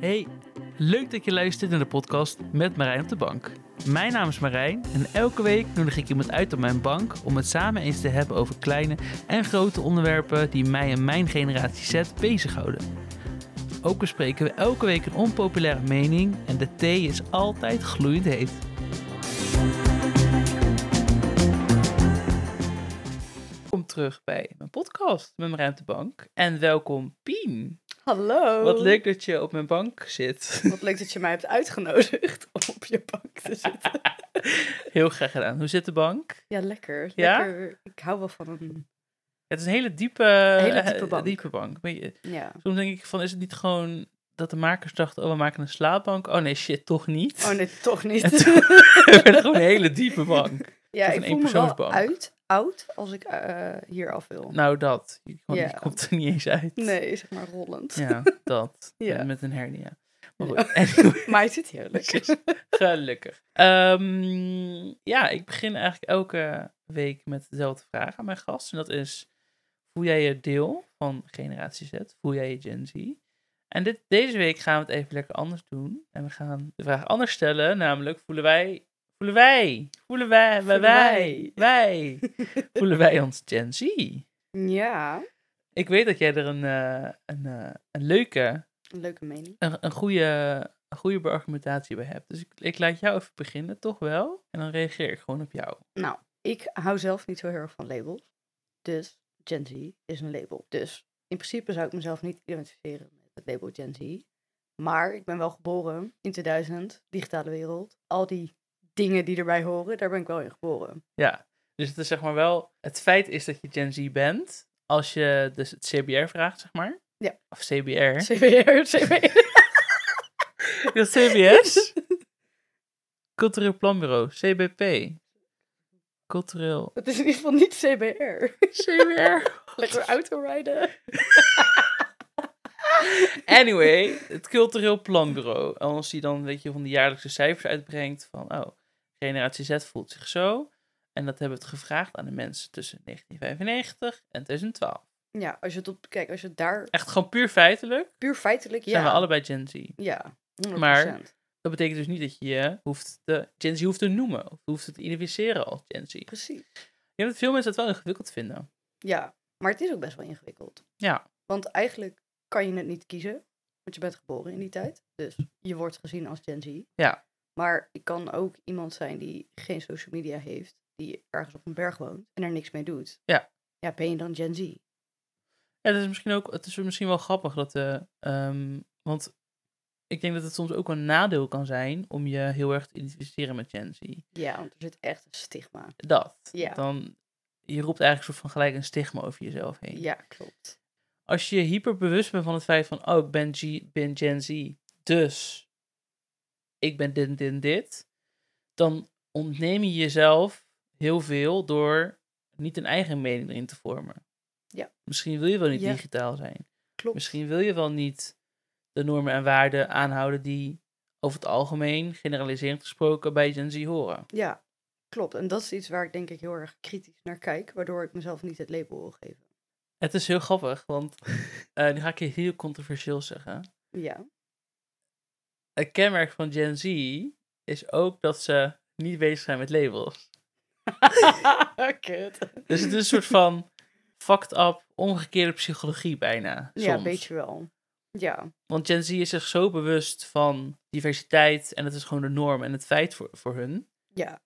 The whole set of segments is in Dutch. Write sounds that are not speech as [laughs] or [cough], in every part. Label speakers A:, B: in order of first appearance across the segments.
A: Hey, leuk dat je luistert naar de podcast met Marijn op de bank. Mijn naam is Marijn en elke week nodig ik iemand uit op mijn bank om het samen eens te hebben over kleine en grote onderwerpen die mij en mijn generatie Z bezighouden. Ook bespreken we elke week een onpopulaire mening en de thee is altijd gloeiend heet. Welkom terug bij mijn podcast met Marijn op de bank en welkom Pien.
B: Hallo.
A: Wat leuk dat je op mijn bank zit. [laughs]
B: Wat leuk dat je mij hebt uitgenodigd om op je bank te zitten.
A: Heel graag gedaan. Hoe zit de bank?
B: [laughs] Ja, lekker.
A: Ja?
B: lekker. Ik hou wel van een...
A: Het is een hele diepe, eh,
B: hele diepe bank.
A: diepe bank. Maar je-
B: Ja.
A: soms denk ik van, is het niet gewoon dat de makers dachten, oh we maken een slaapbank. Oh nee, shit, toch niet. [laughs]
B: Oh nee, [laughs] toch
A: En
B: niet.
A: toen werd het gewoon een hele diepe bank.
B: Ja,
A: Of een
B: ik voel me wel
A: eenpersoonsbank.
B: uit, oud als ik eh, hier af wil.
A: Nou dat, je, kon- je
B: Ja.
A: komt er niet eens uit.
B: Nee, zeg maar rollend. [laughs]
A: Ja, dat.
B: Ja.
A: Met- Met een hernia. Maar
B: Ja.
A: goed, anyway.
B: Maar het zit [laughs] heerlijk.
A: Precies. Gelukkig. Ehm, ja, ik begin eigenlijk elke week met dezelfde vraag aan mijn gast. En dat is, voel jij je deel van generatie Z? Voel jij je Gen Z? En dit, deze week gaan we het even lekker anders doen. En we gaan de vraag anders stellen, namelijk voelen wij... Voelen wij, voelen wij, wij,
B: Voelen
A: wij, wij, voelen wij ons Gen Z?
B: Ja,
A: Ik weet dat jij er een, eh, een, eh, een leuke,
B: een leuke mening.
A: een, een, goede, een goede beargumentatie bij hebt. Dus ik, ik laat jou even beginnen, toch wel? En dan reageer ik gewoon op jou.
B: Nou, ik hou zelf niet zo heel erg van labels. Dus Gen Z is een label. Dus in principe zou ik mezelf niet identificeren met het label Gen Z. Maar ik ben wel geboren in 2000, digitale wereld. Al die dingen die erbij horen, daar ben ik wel in geboren.
A: Ja, dus het is zeg maar wel... Het feit is dat je Gen Z bent, als je dus het CBR vraagt, zeg maar.
B: Ja.
A: Of
B: [laughs]
A: CBR.
B: CBR, CBR.
A: [laughs] Dat is CBS. Cultureel Planbureau, CBP. Cultureel...
B: Het is in ieder geval niet [laughs] CBR.
A: CBR.
B: Lekker autorijden.
A: Anyway, het Cultureel Planbureau. En Als die dan, weet je, van die jaarlijkse cijfers uitbrengt van, oh, generatie Z voelt zich zo. En dat hebben we het gevraagd aan de mensen tussen 1995 en 2012.
B: Ja, als je het op... Kijk, als je het daar
A: Echt gewoon puur feitelijk
B: puur feitelijk... Ja,
A: zijn we allebei Gen Z.
B: Ja, 100%.
A: Maar- Dat betekent dus niet dat je je hoeft de Gen Z hoeft te noemen. Of hoeft te identificeren als Gen Z. Ik
B: Precies.
A: denk dat veel mensen dat wel ingewikkeld vinden.
B: Ja, maar het is ook best wel ingewikkeld.
A: Ja.
B: Want eigenlijk kan je het niet kiezen, want je bent geboren in die tijd. Dus je wordt gezien als Gen Z.
A: Ja.
B: Maar ik kan ook iemand zijn die geen social media heeft, die ergens op een berg woont en er niks mee doet.
A: Ja.
B: Ja, ben je dan Gen Z?
A: Ja, dat is misschien ook, het is misschien wel grappig dat de, ehm, want ik denk dat het soms ook een nadeel kan zijn om je heel erg te identificeren met Gen Z.
B: Ja, want er zit echt een stigma.
A: Dat.
B: Ja.
A: Dan, je roept eigenlijk soort van gelijk een stigma over jezelf heen.
B: Ja, klopt.
A: Als je hyperbewust bent van het feit van, oh, ik ben, G, ben Gen Z, dus ik ben dit en dit en dit, dan ontneem je jezelf heel veel door niet een eigen mening erin te vormen.
B: Ja.
A: Misschien wil je wel niet
B: Ja.
A: digitaal zijn.
B: Klopt.
A: Misschien wil je wel niet de normen en waarden aanhouden die over het algemeen, generaliserend gesproken, bij Gen Z horen.
B: Ja, klopt. En dat is iets waar ik denk ik heel erg kritisch naar kijk, waardoor ik mezelf niet het label wil geven.
A: Het is heel grappig,
B: [laughs]
A: want eh, nu ga ik je heel controversieel zeggen. [laughs]
B: Ja. [laughs]
A: Een kenmerk van Gen Z is ook dat ze niet bezig zijn met labels.
B: Kut.
A: Dus het is een soort
B: [laughs]
A: van fucked up, omgekeerde psychologie bijna.
B: Ja,
A: soms.
B: weet je wel. Ja,
A: Want Gen Z is zich zo bewust van diversiteit en dat is gewoon de norm en het feit voor, voor hun.
B: ja,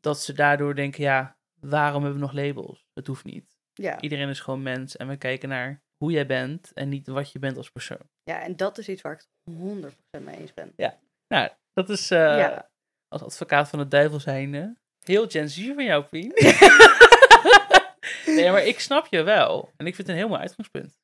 A: Dat ze daardoor denken, ja, waarom hebben we nog labels? Het hoeft niet.
B: ja.
A: Iedereen is gewoon mens en we kijken naar hoe jij bent en niet wat je bent als persoon.
B: Ja, en dat is iets waar ik het 100% mee eens ben.
A: Nou, dat is eh,
B: Ja.
A: als advocaat van de duivel zijnde heel Gen Z van jou, Pien.
B: [laughs]
A: nee, maar ik snap je wel. En ik vind het een heel mooi uitgangspunt.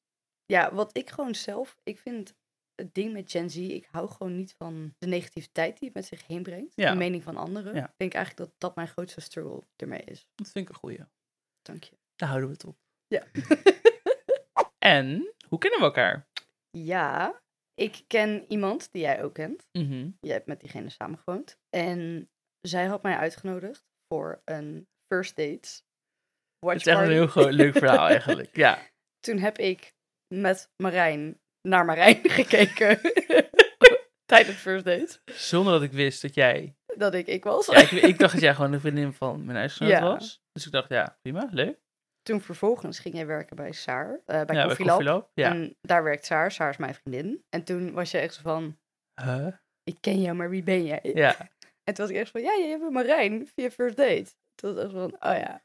B: Ja, wat ik gewoon zelf, ik vind het ding met Gen Z, ik hou gewoon niet van de negativiteit die het met zich heen brengt.
A: Ja.
B: De mening van anderen.
A: Ja.
B: Ik denk eigenlijk dat dat mijn grootste struggle ermee is.
A: Dat vind ik een goeie.
B: Dank je.
A: Daar houden we het op.
B: Ja.
A: [laughs] en, hoe kennen we elkaar?
B: Ja, ik ken iemand die jij ook kent.
A: Mhm.
B: Jij hebt met diegene samengewoond. En zij had mij uitgenodigd voor een first dates watch
A: Het is echt een
B: party.
A: heel go- leuk verhaal eigenlijk. Ja.
B: [laughs]
A: [laughs]
B: toen heb ik met Marijn naar Marijn gekeken. tijdens first date.
A: Zonder dat ik wist dat jij...
B: Dat ik ik was.
A: Ja, ik, ik dacht dat jij gewoon een vriendin van mijn huisgenoot
B: Ja.
A: was. Dus ik dacht, ja, prima, leuk.
B: Toen vervolgens ging jij werken bij Saar. eh, bij Mm.
A: ja,
B: Coffee Lab.
A: Lab, Ja.
B: En daar werkt Saar. Saar is mijn vriendin. En toen was je echt zo van,
A: Huh?
B: ik ken jou, maar wie ben jij?
A: Ja,
B: En toen was ik echt van, ja, jij bent Marijn via first date. Toen was ik echt van, oh ja.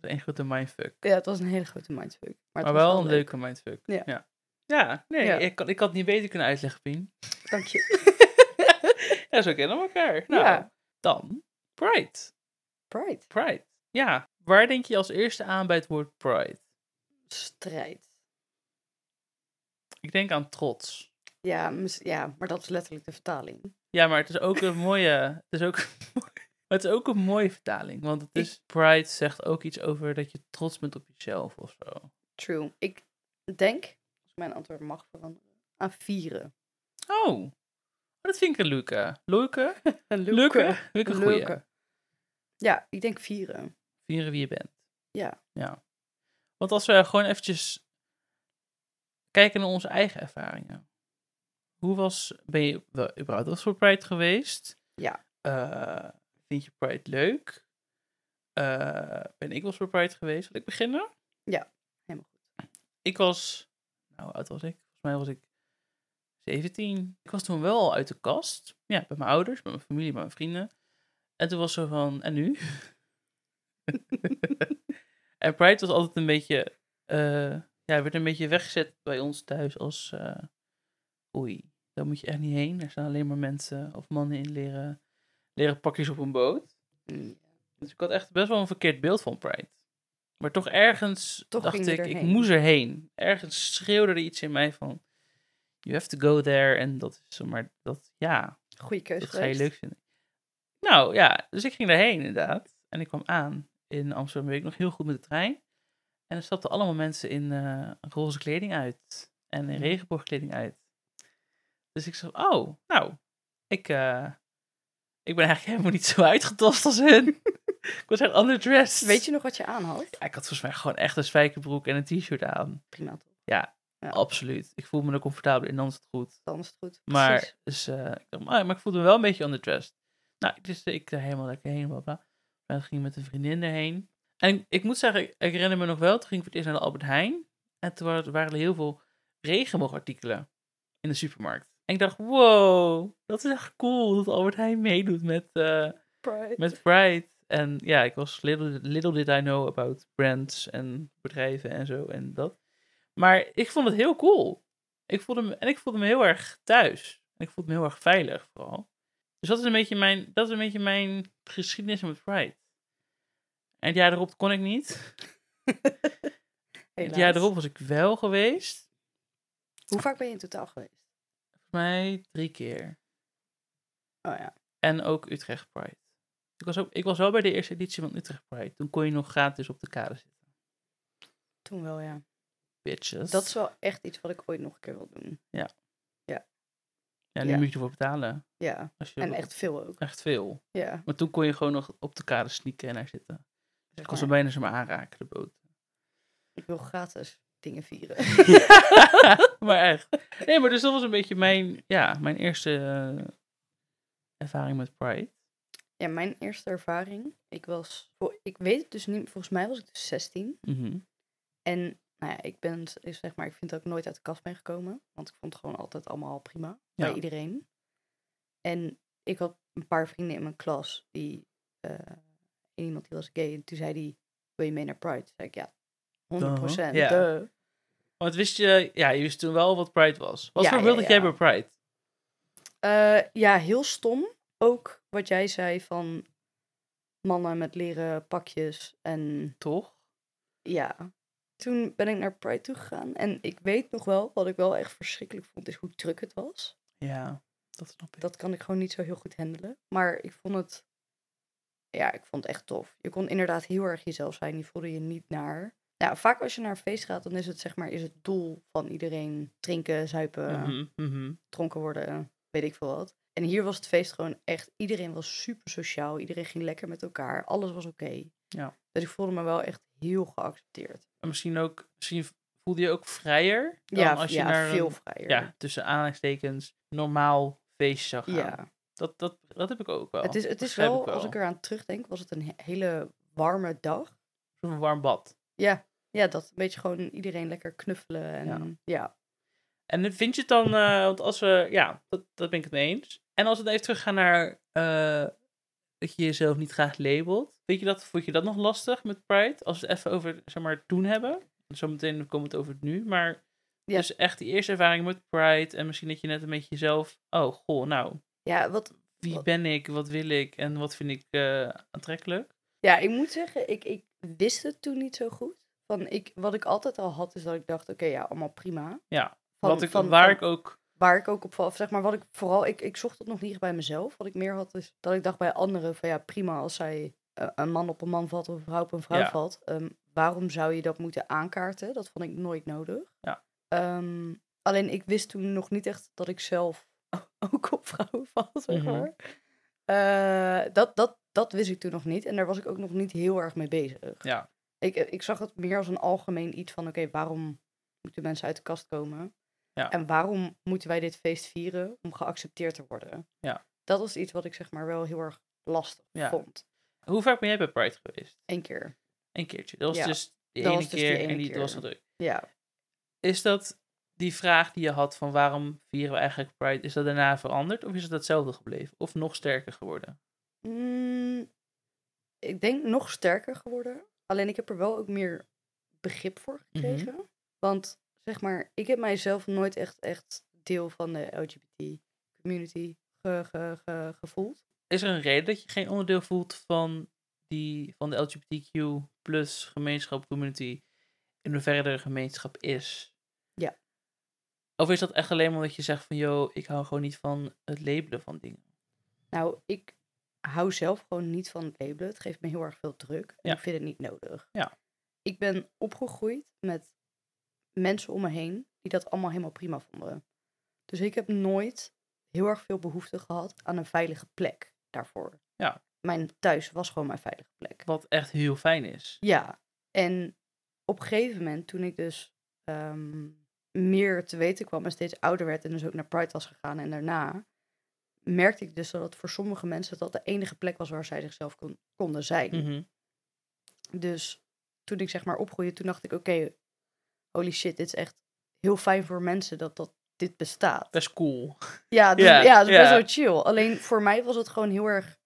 A: één grote mindfuck.
B: Ja, het was een hele grote mindfuck. het
A: Maar
B: was
A: wel een leuke mindfuck.
B: Ja.
A: ja. Ja, nee,
B: Ja.
A: Ik, had, ik had het niet beter kunnen uitleggen, Pien.
B: Dank je.
A: [laughs] Ja, zo kennen we elkaar. Nou,
B: Ja.
A: dan Pride.
B: Pride.
A: Pride. Ja, waar denk je als eerste aan bij het woord Pride?
B: Strijd.
A: Ik denk aan trots.
B: Ja, mis- ja, maar dat is letterlijk de vertaling.
A: Ja, maar het is ook [laughs] een mooie. Het is ook, [laughs] maar het is ook een mooie vertaling. Want het is, Pride zegt ook iets over dat je trots bent op jezelf of zo.
B: True. Ik denk, als ik mijn antwoord mag veranderen, aan vieren.
A: Oh, dat vind ik een leuke. Leuke?
B: Een
A: Leuke? Vind ik een goeie.
B: Leuke. Ja, ik denk vieren.
A: Vieren wie je bent.
B: Ja.
A: Ja. Want als we gewoon eventjes kijken naar onze eigen ervaringen. Hoe was, ben je wel überhaupt wel eens voor Pride geweest?
B: Ja.
A: Eh, vind je Pride leuk? Eh, ben ik wel eens voor Pride geweest? Wil ik beginnen?
B: Ja, helemaal
A: goed. Ik was, nou hoe oud was ik? Volgens mij was ik 17. Ik was toen wel al uit de kast. Ja, bij mijn ouders, bij mijn familie, bij mijn vrienden. En toen was zo van, en nu? en Pride was altijd een beetje, eh, ja, werd een beetje weggezet bij ons thuis als, eh, oei, daar moet je echt niet heen. Er staan alleen maar mensen of mannen in leren, leren pakjes op een boot.
B: Mm.
A: Dus ik had echt best wel een verkeerd beeld van Pride. Maar toch ergens
B: Toch
A: dacht
B: ging je
A: ik, ik
B: erheen.
A: moest erheen. Ergens schreeuwde er iets in mij van, you have to go there. En dat is maar, dat, ja,
B: Goeie keuze
A: dat ga je
B: geweest.
A: leuk vinden. Nou ja, dus ik ging daarheen inderdaad. En ik kwam aan in Amsterdam, weet ik nog heel goed met de trein. En er stapten allemaal mensen in eh, roze kleding uit. En in
B: Mhm.
A: regenboogkleding uit. Dus ik zei, oh, nou, ik, eh, ik ben eigenlijk [laughs] helemaal niet zo uitgetast als hun.
B: [laughs]
A: ik was echt underdressed.
B: Weet je nog wat je aan had?
A: Ja, ik had volgens mij gewoon echt een spijkerbroek en een t-shirt aan.
B: Prima toch? Ja.
A: Absoluut. Ik voel me er comfortabel in, dan is het goed.
B: Dan is het goed.
A: Maar,
B: Precies.
A: dus, eh, ik dacht, maar, maar ik voelde me wel een beetje underdressed. Nou, dus eh, ik er helemaal lekker heen, bla bla. Maar ging met een vriendin erheen. En ik moet zeggen, ik, ik herinner me nog wel, toen ging ik voor het eerst naar de Albert Heijn. En toen waren, waren er heel veel regenboogartikelen in de supermarkt. En ik dacht, wow, dat is echt cool dat Albert Heijn meedoet met, eh,
B: Pride.
A: met Pride. En ja, ik was little, little did I know about brands en bedrijven en zo en dat. Maar ik vond het heel cool. Ik voelde me, en ik voelde me heel erg thuis. En ik voelde me heel erg veilig vooral. Dus dat is een beetje mijn, dat is een beetje mijn geschiedenis met Pride. En het jaar erop kon ik niet. Het jaar
B: Helaas.
A: erop was ik wel geweest.
B: Hoe vaak ben je in totaal geweest?
A: Volgens mij drie keer.
B: Oh ja.
A: En ook Utrecht Pride. Ik was, ook, ik was wel bij de eerste editie van Utrecht Pride. Toen kon je nog gratis op de kade zitten.
B: Toen wel, ja.
A: Bitches.
B: Dat is wel echt iets wat ik ooit nog een keer wil doen.
A: Ja, nu
B: Ja.
A: moet je ervoor betalen.
B: Ja.
A: Als je
B: En
A: wil.
B: echt veel ook.
A: echt veel.
B: Ja.
A: Maar toen kon je gewoon nog op de kade sneaken en daar zitten. Dus
B: Zeg
A: Ik kon zo
B: maar,
A: bijna ze maar aanraken, de
B: [laughs]
A: boot.
B: Ik wil gratis dingen vieren.
A: [laughs] maar echt. Nee, maar dus dat was een beetje mijn, ja, mijn eerste eh, ervaring met Pride.
B: Ja, mijn eerste ervaring. Ik was. voor- Ik weet het dus niet. Volgens mij was ik dus 16.
A: Mhm.
B: En nou ja, ik ben is zeg maar, ik vind dat ik nooit uit de kast ben gekomen. Want ik vond het gewoon altijd allemaal prima.
A: Ja.
B: Bij iedereen. En ik had een paar vrienden in mijn klas die. eh, iemand die was gay. En toen zei die: Wil je mee naar Pride? Toen zei ik ja. 100 procent.
A: Ja. Want wist je, ja, je wist toen wel wat Pride was. Wat
B: Ja,
A: voor
B: ja,
A: beeld had jij bij
B: ja.
A: Pride?
B: Eh, ja, heel stom. Ook wat jij zei van mannen met leren pakjes. En
A: Toch?
B: ja, toen ben ik naar Pride toe gegaan. En ik weet nog wel, wat ik wel echt verschrikkelijk vond, is hoe druk het was.
A: Ja, dat snap ik.
B: Dat kan ik gewoon niet zo heel goed handelen. Maar ik vond het, ja, ik vond het echt tof. Je kon inderdaad heel erg jezelf zijn. Je voelde je niet naar. Ja, vaak als je naar een feest gaat, dan is het zeg maar, is het doel van iedereen drinken, zuipen,
A: Mhm, mhm.
B: dronken worden, weet ik veel wat. En hier was het feest gewoon echt, iedereen was super sociaal, iedereen ging lekker met elkaar, alles was oké.
A: Ja.
B: Dus ik voelde me wel echt heel geaccepteerd.
A: En misschien ook, misschien voelde je je ook vrijer dan
B: ja,
A: als je
B: ja
A: naar een-
B: veel vrijer.
A: ja, tussen aanhalingstekens normaal feestje zou gaan.
B: Ja.
A: Dat, dat, dat heb ik ook wel.
B: Het is, het is
A: Begrijp
B: wel,
A: ik wel.
B: als ik eraan terugdenk, was het een he- hele warme dag.
A: Zo'n warm bad.
B: Ja, dat een beetje gewoon iedereen lekker knuffelen. En, ja.
A: En vind je het dan, eh, want als we, ja, dat, dat ben ik het mee eens. En als we dan even teruggaan naar eh, dat je jezelf niet graag labelt. Vind je dat, vond je dat nog lastig met Pride? Als we het even over, zeg maar, toen hebben. Zometeen komen we het over het nu. Maar
B: Ja.
A: dus echt die eerste ervaring met Pride. En misschien dat je net een beetje jezelf, oh goh, nou,
B: ja, wat,
A: wie
B: Wat-
A: ben ik? Wat wil ik? En wat vind ik eh, aantrekkelijk?
B: ja, ik moet zeggen, ik, ik wist het toen niet zo goed. Van ik, wat ik altijd al had, is dat ik dacht, oké, ja, allemaal prima.
A: Ja,
B: Van-
A: wat ik,
B: van-
A: waar
B: van-
A: ik ook,
B: waar ik ook op val. Of zeg maar wat ik vooral, ik, ik zocht het nog niet bij mezelf. Wat ik meer had is dat ik dacht bij anderen van ja prima als zij eh, een man op een man valt of een vrouw op een vrouw
A: Ja.
B: valt. Ehm, waarom zou je dat moeten aankaarten? Dat vond ik nooit nodig.
A: Ja.
B: Ehm, alleen ik wist toen nog niet echt dat ik zelf [laughs] ook op vrouwen val, zeg
A: Mhm.
B: maar. Eh, dat, dat, dat wist ik toen nog niet en daar was ik ook nog niet heel erg mee bezig.
A: Ja.
B: Ik, ik zag het meer als een algemeen iets van oké, waarom moeten mensen uit de kast komen? En waarom moeten wij dit feest vieren om geaccepteerd te worden?
A: Ja.
B: Dat was iets wat ik zeg maar wel heel erg lastig
A: Ja.
B: vond.
A: hoe vaak ben jij bij Pride geweest?
B: Eén keer.
A: Eén keertje. Dat was
B: Ja,
A: dus de
B: dat
A: ene
B: was dus die
A: keer
B: ene
A: en die
B: keer.
A: dat was zo druk.
B: Ja.
A: Is dat die vraag die je had van waarom vieren we eigenlijk Pride, is dat daarna veranderd of is het hetzelfde gebleven? Of nog sterker geworden?
B: Mm, ik denk nog sterker geworden. Alleen ik heb er wel ook meer begrip
A: Mhm.
B: voor gekregen. Want zeg maar, ik heb mijzelf nooit echt, echt deel van de LGBT community ge- ge- ge- gevoeld.
A: Is er een reden dat je geen onderdeel voelt van, die, van de LGBTQ plus gemeenschap, community, in hoeverre er een gemeenschap is?
B: Ja.
A: Of is dat echt alleen omdat je zegt van, joh, ik hou gewoon niet van het labelen van dingen?
B: Nou, ik hou zelf gewoon niet van het labelen. Het geeft me heel erg veel druk. En
A: Ja.
B: ik vind het niet nodig.
A: Ja.
B: Ik ben opgegroeid met mensen om me heen die dat allemaal helemaal prima vonden. Dus ik heb nooit heel erg veel behoefte gehad aan een veilige plek daarvoor.
A: Ja.
B: Mijn thuis was gewoon mijn veilige plek.
A: Wat echt heel fijn is.
B: Ja, en op een gegeven moment, toen ik dus ehm, meer te weten kwam en steeds ouder werd en dus ook naar Pride was gegaan en daarna, merkte ik dus dat het voor sommige mensen dat de enige plek was waar zij zichzelf kon- konden zijn.
A: Mhm.
B: Dus toen ik zeg maar opgroeide, toen dacht ik, oké, holy shit, dit is echt heel fijn voor mensen dat, dat dit bestaat.
A: Best cool.
B: Ja, dus,
A: Ja,
B: ja, het is best
A: ja.
B: wel chill. Alleen voor mij was het gewoon heel erg.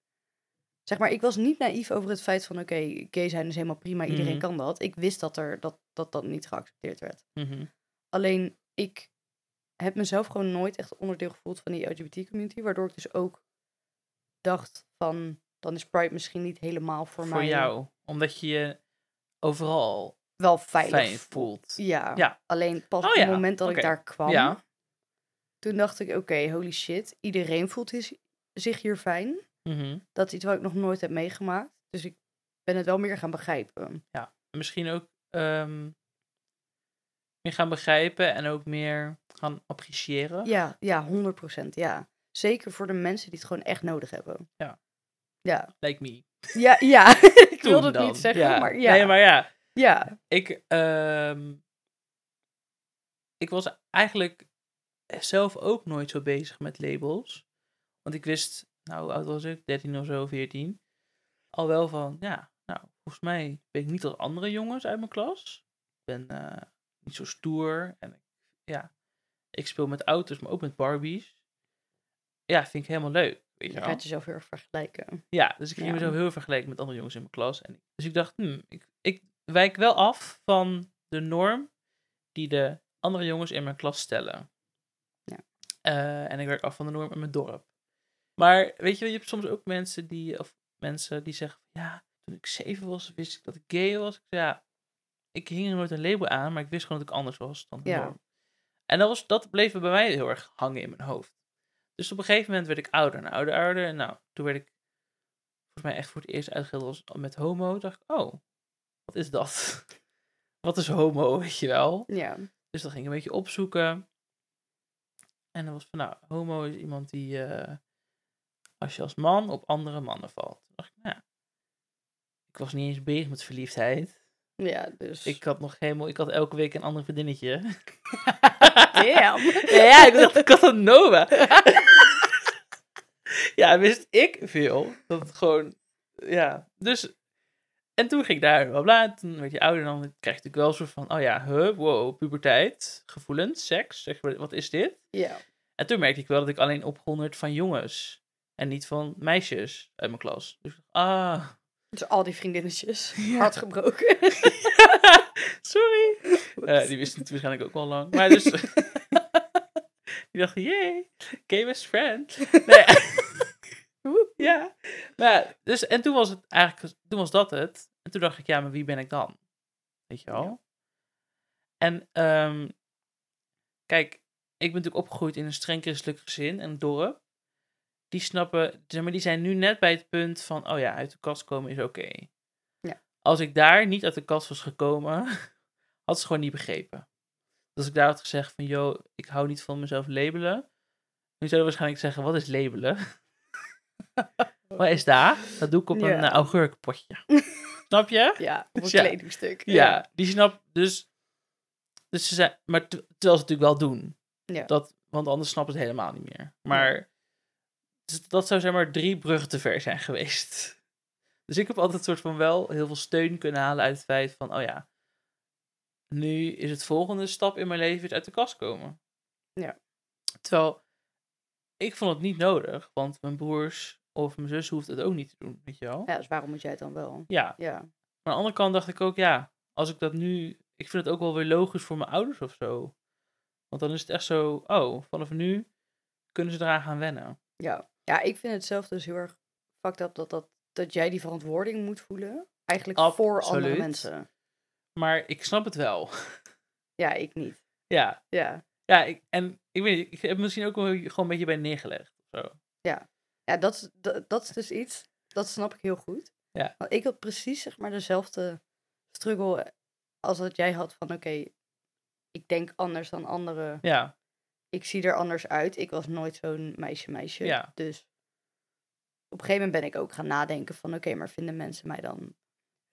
B: Zeg maar, ik was niet naïef over het feit van: oké, gay zijn is helemaal prima, iedereen
A: Mhm.
B: kan dat. Ik wist dat, er, dat, dat dat niet geaccepteerd werd.
A: Mhm.
B: Alleen ik heb mezelf gewoon nooit echt onderdeel gevoeld van die LGBT-community, waardoor ik dus ook dacht: van dan is Pride misschien niet helemaal voor,
A: Voor,
B: mij
A: jou. Omdat je je overal
B: wel
A: fijn,
B: veilig voelt.
A: voelt.
B: Ja.
A: Ja.
B: Alleen pas
A: Oh
B: op het
A: ja,
B: moment dat
A: oké.
B: ik daar kwam,
A: Ja.
B: toen dacht ik: oké, holy shit, iedereen voelt hi- zich hier fijn.
A: Mhm.
B: Dat is iets wat ik nog nooit heb meegemaakt. Dus ik ben het wel meer gaan begrijpen.
A: misschien ook ehm, meer gaan begrijpen en ook meer gaan appreciëren.
B: Ja, ja, 100%. Ja. Zeker voor de mensen die het gewoon echt nodig hebben.
A: Ja.
B: Ja,
A: Like me.
B: ja, [laughs] ja. ik
A: Toen
B: wilde het
A: dan.
B: niet zeggen, maar ja.
A: Nee, maar ja.
B: Ja,
A: Ik, ehm, ik was eigenlijk zelf ook nooit zo bezig met labels. Want ik wist, nou, hoe oud was ik? 13 of zo, 14. Al wel van, ja, nou, volgens mij ben ik niet als andere jongens uit mijn klas. Ik ben eh, niet zo stoer. En ik- ja, ik speel met auto's, maar ook met Barbies. Ja, vind ik helemaal leuk. Weet je
B: je
A: wel.
B: gaat jezelf heel erg vergelijken.
A: Ja, dus ik ging
B: Ja.
A: mezelf heel erg vergelijken met andere jongens in mijn klas. En, dus ik dacht, hmm, ik, ik wijk wel af van de norm die de andere jongens in mijn klas stellen.
B: Ja.
A: Eh, en ik werk af van de norm in mijn dorp. Maar weet je, wel, je hebt soms ook mensen die, of mensen die zeggen, ja, toen ik zeven was, wist ik dat ik gay was. Ik zei, Ja, ik hing er nooit een label aan, maar ik wist gewoon dat ik anders was dan de
B: Ja.
A: norm. En dat, was, dat bleef bij mij heel erg hangen in mijn hoofd. Dus op een gegeven moment werd ik ouder en ouder en ouder. En nou, toen werd ik volgens mij echt voor het eerst uitgedeeld als met homo. dacht ik, oh, wat is dat? [laughs] Wat is homo, weet je wel?
B: Ja,
A: Dus dat ging ik een beetje opzoeken. En dan was van, nou, homo is iemand die, eh, als je als man op andere mannen valt. Toen dacht ik, nou, ja, ik was niet eens bezig met verliefdheid.
B: ja dus.
A: Ik had nog helemaal, ik had elke week een ander vriendinnetje. [laughs]
B: Damn.
A: ja, ja, ik had, ik had een Nova. [laughs] ja, wist ik veel. Dat het gewoon, ja. Dus, en toen ging ik daar, bla bla. Toen werd je ouder en dan krijg je natuurlijk wel een soort van, oh ja, huh, wow, puberteit, gevoelens, seks, zeg maar, wat is dit?
B: Ja.
A: En toen merkte ik wel dat ik alleen opgewonden werd van jongens. En niet van meisjes uit mijn klas. Dus, ah, [laughs]
B: Dus al die vriendinnetjes.
A: Ja.
B: Hard gebroken.
A: sorry. Eh, die wist het waarschijnlijk ook al lang. Maar dus... [laughs] die dacht, jee, game is friend. Nee. Woep, ja. Maar, dus, en toen was het eigenlijk, toen was dat het. En toen dacht ik, ja, maar wie ben ik dan? Weet je wel? En, ehm, kijk, ik ben natuurlijk opgegroeid in een streng christelijk gezin en dorp. Die snappen, zeg maar, die zijn nu net bij het punt van, oh ja, uit de kast komen is oké.
B: Ja.
A: Als ik daar niet uit de kast was gekomen, [laughs] had ze gewoon niet begrepen. Dus als ik daar had gezegd van, yo, ik hou niet van mezelf labelen. Nu zouden we waarschijnlijk zeggen, wat is labelen? [laughs] wat is dat? Dat doe ik op
B: Ja.
A: een eh,
B: [laughs]
A: augurkpotje. Snap je?
B: ja, op een
A: Ja.
B: kledingstuk.
A: Ja, die snap dus. Dus ze zijn, maar te- terwijl ze het natuurlijk wel doen.
B: Ja.
A: Dat, want anders snappen ze het helemaal niet meer. Maar dus dat zou zeg maar drie bruggen te ver zijn geweest. [laughs] Dus ik heb altijd soort van wel heel veel steun kunnen halen uit het feit van, oh ja, nu is het volgende stap in mijn leven is uit de kast komen.
B: Ja.
A: Terwijl ik vond het niet nodig, want mijn broers of mijn zus hoeft het ook niet te doen, weet je wel?
B: Ja, dus waarom moet jij het dan wel?
A: ja.
B: Ja.
A: Maar aan de andere kant dacht ik ook, ja, als ik dat nu... Ik vind het ook wel weer logisch voor mijn ouders of zo. Want dan is het echt zo, oh, vanaf nu kunnen ze eraan gaan wennen.
B: Ja. Ja, ik vind het zelf dus heel erg fucked up dat, dat, dat jij die verantwoording moet voelen. Eigenlijk voor andere
A: Absoluut.
B: mensen.
A: Maar ik snap het wel. [laughs]
B: Ja, ik niet.
A: Ja,
B: Ja.
A: ja ik, en ik weet niet, ik heb misschien ook wel gewoon een beetje bij neergelegd. Zo.
B: Ja, dat, is- dat, dat is dus iets, dat snap ik heel goed.
A: Ja.
B: Want ik had precies zeg maar dezelfde struggle als dat jij had van oké, ik denk anders dan anderen.
A: Ja,
B: ik zie er anders uit. Ik was nooit zo'n meisje-meisje.
A: Ja.
B: Dus op een gegeven moment ben ik ook gaan nadenken van... oké, maar vinden mensen mij dan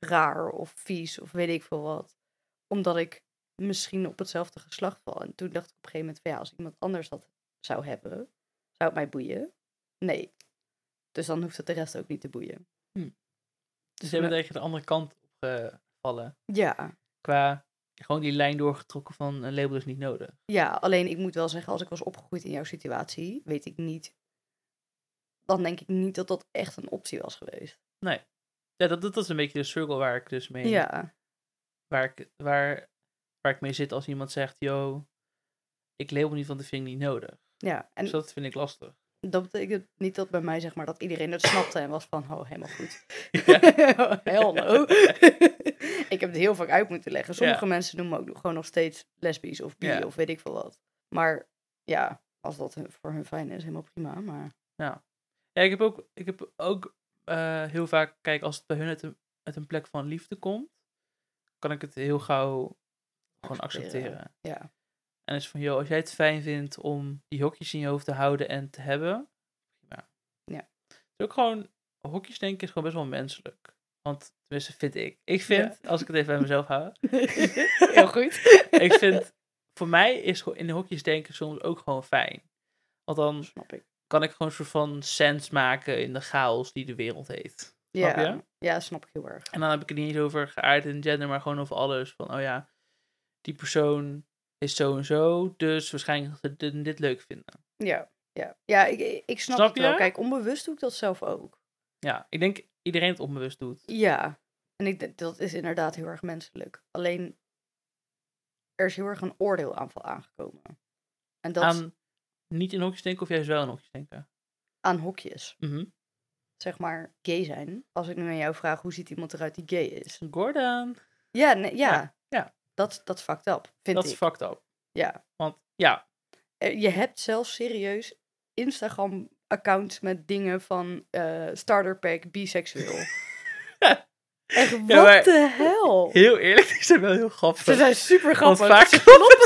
B: raar of vies of weet ik veel wat? Omdat ik misschien op hetzelfde geslacht val. En toen dacht ik op een gegeven moment van... ja, als iemand anders dat zou hebben, zou het mij boeien? Nee. Dus dan hoeft het de rest ook niet te boeien.
A: Hm. dus
B: Dus
A: jij bent
B: me-
A: tegen de andere kant opgevallen.
B: ja,
A: Qua gewoon die lijn doorgetrokken van een label is niet nodig.
B: ja, alleen ik moet wel zeggen... als ik was opgegroeid in jouw situatie, weet ik niet... dan denk ik niet dat dat echt een optie was geweest.
A: Ja, dat, dat, dat is een beetje de cirkel waar ik dus mee...
B: Ja,
A: waar ik, waar, waar ik mee zit als iemand zegt, yo, ik label niet, want dat vind ik niet nodig.
B: ja. En
A: Dus dat vind ik
B: [laughs]
A: lastig.
B: dat betekent niet dat bij mij, zeg maar, dat iedereen het snapte en was van, oh, helemaal goed. [laughs]
A: Ja.
B: Hell no. [laughs] ik heb het heel vaak uit moeten leggen. Sommige mensen noemen me ook gewoon nog steeds lesbisch of bi
A: Ja.
B: of weet ik veel wat. Maar ja, als dat hun- voor hun fijn is, helemaal prima.
A: [laughs]
B: Maar
A: Ja, ik heb ook, ik heb ook eh, heel vaak, kijk, als het bij hun uit een, uit een plek van liefde komt, kan ik het heel gauw gewoon
B: Accepteren,
A: accepteren.
B: ja.
A: En is van, joh, als jij het fijn vindt om die hokjes in je hoofd te houden en te hebben, prima.
B: Ja.
A: Dus ook gewoon, hokjes denken is gewoon best wel menselijk. Want, tenminste, vind ik. Ik vind, als ik het even bij mezelf
B: [laughs]
A: hou,
B: heel goed.
A: ik vind, voor mij is ho- in de hokjes denken soms ook gewoon fijn. Want dan
B: [laughs] Snap ik.
A: kan ik gewoon een soort van sens maken in de chaos die de wereld heeft. Snap
B: Ja,
A: je?
B: ja, snap ik heel erg.
A: En dan heb ik het niet eens over geaard en gender, maar gewoon over alles. Van, oh ja, die persoon is zo en zo, dus waarschijnlijk gaat ze dit, dit leuk vinden.
B: Ja, ja. ja ik, ik snap,
A: Snap
B: het wel.
A: je?
B: Kijk, onbewust doe ik dat zelf ook.
A: Ja, ik denk iedereen het onbewust doet.
B: Ja, en ik, denk dat is inderdaad heel erg menselijk. Alleen er is heel erg een oordeel aan aangekomen. En dat aan,
A: Aan niet in hokjes denken of juist wel in hokjes denken.
B: hokjes.
A: Mhm.
B: Zeg maar gay zijn. Als ik nu aan jou vraag hoe ziet iemand eruit die gay is.
A: Gordon,
B: Ja, nee, ja.
A: Ja, ja.
B: Dat, dat fucked up, vind
A: dat
B: ik.
A: is fucked up.
B: Ja.
A: Want, ja,
B: Er- Je hebt zelfs serieus Instagram accounts met dingen van eh starter pack biseksueel.
A: [laughs]
B: Echt, wat
A: maar-
B: de
A: [laughs]
B: hel?
A: heel eerlijk, die zijn wel heel grappig.
B: Ze zijn super grappig.
A: Want vaak
B: Ze
A: [laughs]
B: kloppen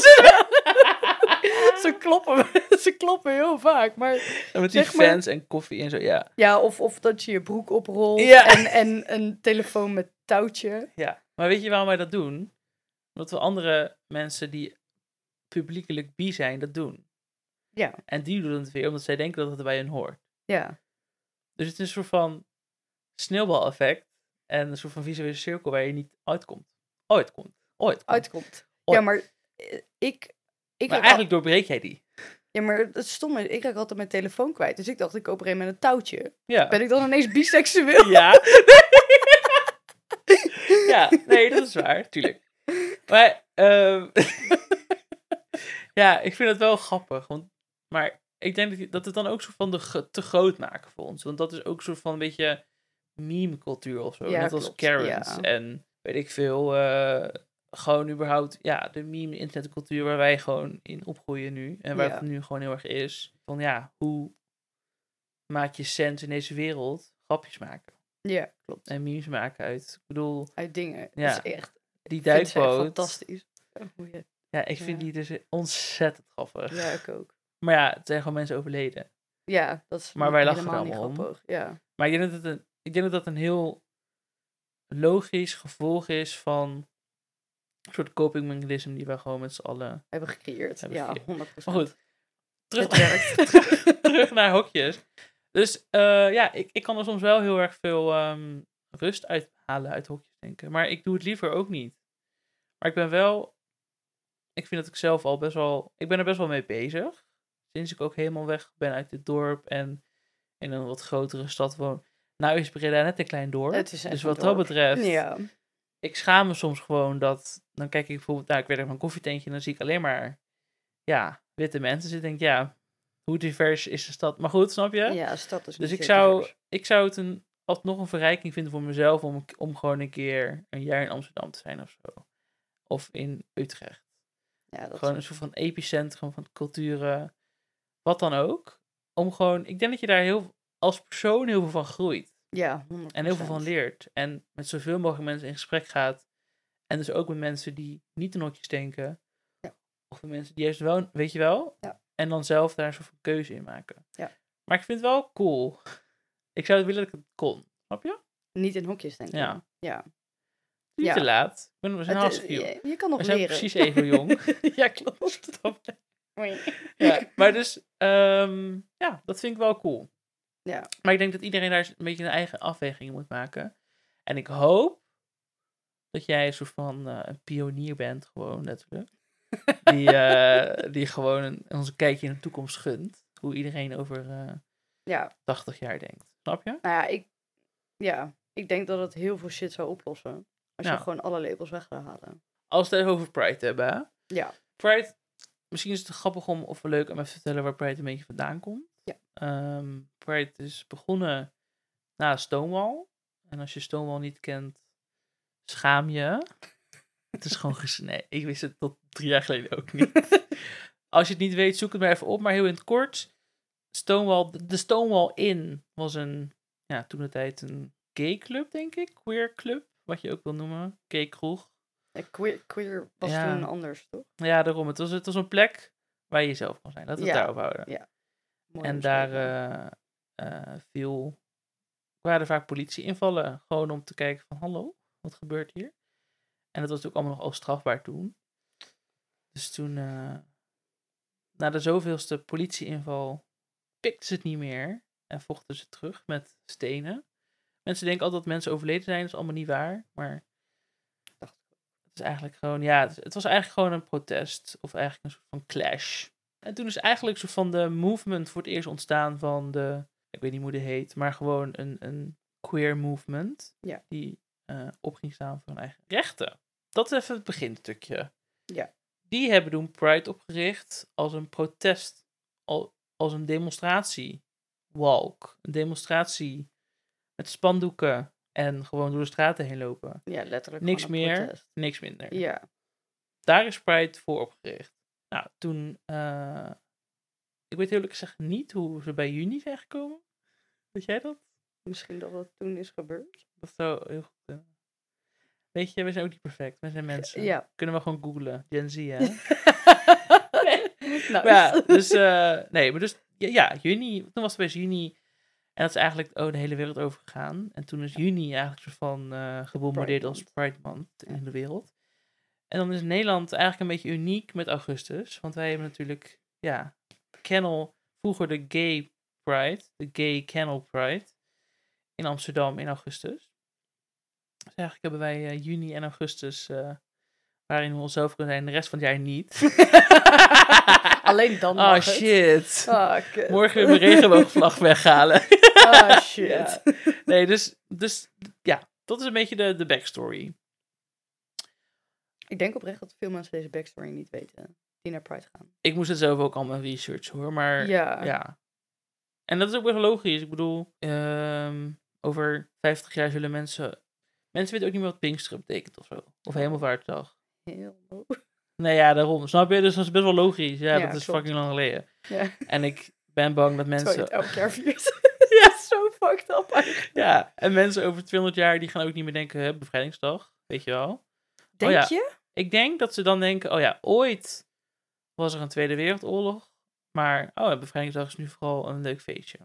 B: ze. ze kloppen. Ze kloppen heel vaak. Maar
A: En met die
B: Zeg maar-
A: fans en koffie en zo, ja.
B: ja, of, of dat je je broek oprolt
A: Ja.
B: en, en een telefoon met touwtje.
A: Ja, maar weet je waarom wij dat doen? Omdat we andere mensen die publiekelijk bi zijn, dat doen.
B: Ja.
A: En die doen het weer omdat zij denken dat het bij hen hoort.
B: Ja.
A: Dus het is een soort van sneeuwbaleffect en een soort van visuele cirkel waar je niet uitkomt. Ooit komt. Ooit. komt.
B: uitkomt.
A: Ooit.
B: Ja, maar eh, ik...
A: Oh. maar
B: ik raak al-
A: eigenlijk doorbreek jij die.
B: Ja, maar het stomme is, ik raak altijd mijn telefoon kwijt. Dus ik dacht, ik koop er een met een touwtje.
A: Ja.
B: Ben ik dan ineens
A: [laughs]
B: biseksueel?
A: Ja. ja, nee, dat is waar, tuurlijk. Maar, ehm, [laughs] ja, ik vind het wel grappig. Want, maar ik denk dat je- dat het dan ook zo van de gro- te groot maken voor ons. Want dat is ook zo van een beetje meme-cultuur of zo.
B: Ja,
A: net als
B: klopt,
A: Karens
B: ja.
A: en weet ik veel. eh, gewoon überhaupt, ja, de meme-internetcultuur waar wij gewoon in opgroeien nu. En waar
B: Ja.
A: het nu gewoon heel erg is. Van ja, hoe maak je sens in deze wereld? Grapjes maken
B: Ja, klopt.
A: en memes maken uit. Ik bedoel,
B: Uit dingen.
A: Ja.
B: Dat is echt,
A: die
B: ik vind ze echt
A: duikboot.
B: fantastisch. Zo goeie.
A: Ja, ik vind
B: Ja.
A: die dus ontzettend grappig.
B: Ja, ik ook.
A: Maar ja, het zijn gewoon mensen overleden.
B: Ja, dat is
A: Maar wij lachen er
B: helemaal niet
A: allemaal om.
B: grappig. Ja.
A: Maar ik denk dat, het een, ik denk dat dat een heel logisch gevolg is van een soort coping mechanism die we gewoon met z'n allen
B: Hebben gecreëerd.
A: Hebben
B: ja,
A: gecreëerd.
B: 100
A: Maar goed, terug,
B: Het werkt.
A: terug, [laughs] terug naar hokjes. Dus eh, ja, ik, ik kan er soms wel heel erg veel ehm, rust uit halen uit hokjes denken. Maar ik doe het liever ook niet. Maar ik ben wel... Ik vind dat ik zelf al best wel... Ik ben er best wel mee bezig. Sinds ik ook helemaal weg ben uit dit dorp en in een wat grotere stad woon. Nou is Breda net een klein dorp.
B: Het is echt
A: dus
B: een
A: wat dat
B: dorp.
A: betreft
B: Ja.
A: ik schaam me soms gewoon dat. Dan kijk ik bijvoorbeeld, nou, ik werk op een koffietentje en dan zie ik alleen maar. Ja, witte mensen. Dus ik denk, ja, hoe divers is de stad? Maar goed, snap je?
B: Ja, stad is
A: dus
B: niet
A: ik
B: heel
A: zou,
B: divers.
A: ik zou het een, alsnog een verrijking vinden voor mezelf om, om gewoon een keer een jaar in Amsterdam te zijn of zo. Of in Utrecht.
B: Ja, dat
A: Gewoon een soort van epicentrum van culturen. Wat dan ook. Om gewoon, ik denk dat je daar heel, als persoon heel veel van groeit.
B: ja,
A: En heel veel van leert. En met zoveel mogelijk mensen in gesprek gaat. En dus ook met mensen die niet in hokjes denken.
B: Ja.
A: Of met mensen die juist wel, weet je wel.
B: Ja.
A: En dan zelf daar een soort van keuze in maken.
B: Ja.
A: Maar ik vind het wel cool. Ik zou willen dat ik het kon. Snap je?
B: Niet in hokjes, denk ik.
A: Ja.
B: Ja.
A: Niet
B: Ja.
A: te laat. Ik ben, we zijn
B: Het is-
A: hartstikke jong.
B: je, je kan nog
A: We zijn
B: leren.
A: precies even
B: [laughs]
A: jong.
B: ja,
A: [laughs]
B: klopt.
A: Snap je? ja. Maar dus, ehm, ja, dat vind ik wel cool.
B: Ja.
A: Maar ik denk dat iedereen daar een beetje een eigen afweging in moet maken. En ik hoop dat jij een soort van eh, een pionier bent, gewoon letterlijk. Die, eh, die gewoon een, ons een kijkje in de toekomst gunt. Hoe iedereen over eh,
B: Ja,
A: 80 jaar denkt. Snap je?
B: Nou ja, ik, ja, ik denk dat het heel veel shit zou oplossen. Als
A: Ja.
B: je gewoon alle labels weg zou halen.
A: Als we het over Pride hebben. hè?
B: Ja.
A: Pride, misschien is het grappig om of leuk om even te vertellen waar Pride een beetje vandaan komt.
B: Ja.
A: Ehm, Pride is begonnen na Stonewall. En als je Stonewall niet kent, schaam je. Het is gewoon ges- [laughs] Nee, ik wist het tot drie jaar geleden ook niet.
B: [laughs]
A: Als je het niet weet, zoek het maar even op. Maar heel in het kort, Stonewall, de Stonewall Inn was een, ja, toen de tijd een gay club, denk ik. Queer club, wat je ook wil noemen. Gay kroeg.
B: En queer, queer was
A: Ja.
B: toen anders, toch?
A: Ja, daarom. Het was, het was een plek waar je jezelf kon zijn. Laten we het
B: Ja,
A: daarop houden.
B: ja, Mooi
A: en daar
B: omschreven.
A: eh, eh, viel... waren vaak politieinvallen. Gewoon om te kijken van, hallo, wat gebeurt hier? En dat was natuurlijk allemaal nog al strafbaar toen. Dus toen, eh, na de zoveelste politieinval, pikten ze het niet meer. En vochten ze terug met stenen. Mensen denken altijd dat mensen overleden zijn. Dat is allemaal niet waar. Maar
B: Dacht
A: het is eigenlijk gewoon, ja, het, het was eigenlijk gewoon een protest. Of eigenlijk een soort van clash. En toen is eigenlijk zo van de movement voor het eerst ontstaan van de, ik weet niet hoe de heet, maar gewoon een, een queer movement.
B: Ja.
A: Die eh, op ging staan voor hun eigen rechten. Dat is even het beginstukje.
B: Ja.
A: Die hebben toen Pride opgericht als een protest, al- als een demonstratie walk. Een demonstratie met spandoeken en gewoon door de straten heen lopen.
B: Ja, letterlijk.
A: niks
B: gewoon een
A: meer.
B: protest.
A: Niks minder.
B: Ja,
A: Daar is Pride voor opgericht. Nou, toen... eh, ik weet heel eerlijk gezegd niet hoe ze bij juni zijn gekomen. Weet jij dat?
B: misschien dat dat toen is gebeurd.
A: Dat zou heel goed kunnen. Weet je, we zijn ook niet perfect. We zijn mensen. [laughs]
B: Ja. [laughs]
A: Kunnen we gewoon googlen. Gen Z, hè? Maar
B: Nou,
A: ja, dus, eh, nee, maar dus, ja, ja, juni, toen was het best juni. En dat is eigenlijk oh, de hele wereld overgegaan. En toen is juni eigenlijk soort van eh gebombardeerd als Pride Month in de wereld. En dan is Nederland eigenlijk een beetje uniek met augustus. Want wij hebben natuurlijk, ja, Kennel, vroeger de Gay Pride, de Gay Kennel Pride. in Amsterdam in augustus. Dus eigenlijk hebben wij eh, juni en augustus eh, waarin we onszelf kunnen zijn, de rest van het jaar niet.
B: [laughs] [laughs] Alleen dan
A: oh
B: mag het.
A: shit.
B: Ah, kut.
A: Morgen mijn regenboogvlag weghalen.
B: [laughs] Ah, shit.
A: Ja. Nee, dus, dus ja, dat is een beetje de, de backstory.
B: Ik denk oprecht dat veel mensen deze backstory niet weten. Die naar Pride gaan.
A: Ik moest het zelf ook allemaal researchen hoor, maar
B: Ja.
A: Ja. En dat is ook weer logisch. Ik bedoel, ehm, over 50 jaar zullen mensen... Mensen weten ook niet meer wat Pinksteren betekent of zo. Of Hemelvaartdag.
B: Heel mooi.
A: Nee, ja, daarom. Snap je? Dus dat is best wel logisch. Ja,
B: Ja,
A: dat is
B: klopt.
A: fucking lang geleden.
B: Ja.
A: En ik ben bang dat
B: [laughs] Terwijl je
A: mensen...
B: het elk [laughs] jaar viert. ja, zo fucked up eigenlijk.
A: Ja, en mensen over 200 jaar, die gaan ook niet meer denken, hè, bevrijdingsdag. Weet je wel?
B: Denk
A: Oh ja.
B: je?
A: Ik denk dat ze dan denken, oh ja, ooit was er een Tweede Wereldoorlog. Maar, oh ja, bevrijdingsdag is nu vooral een leuk feestje.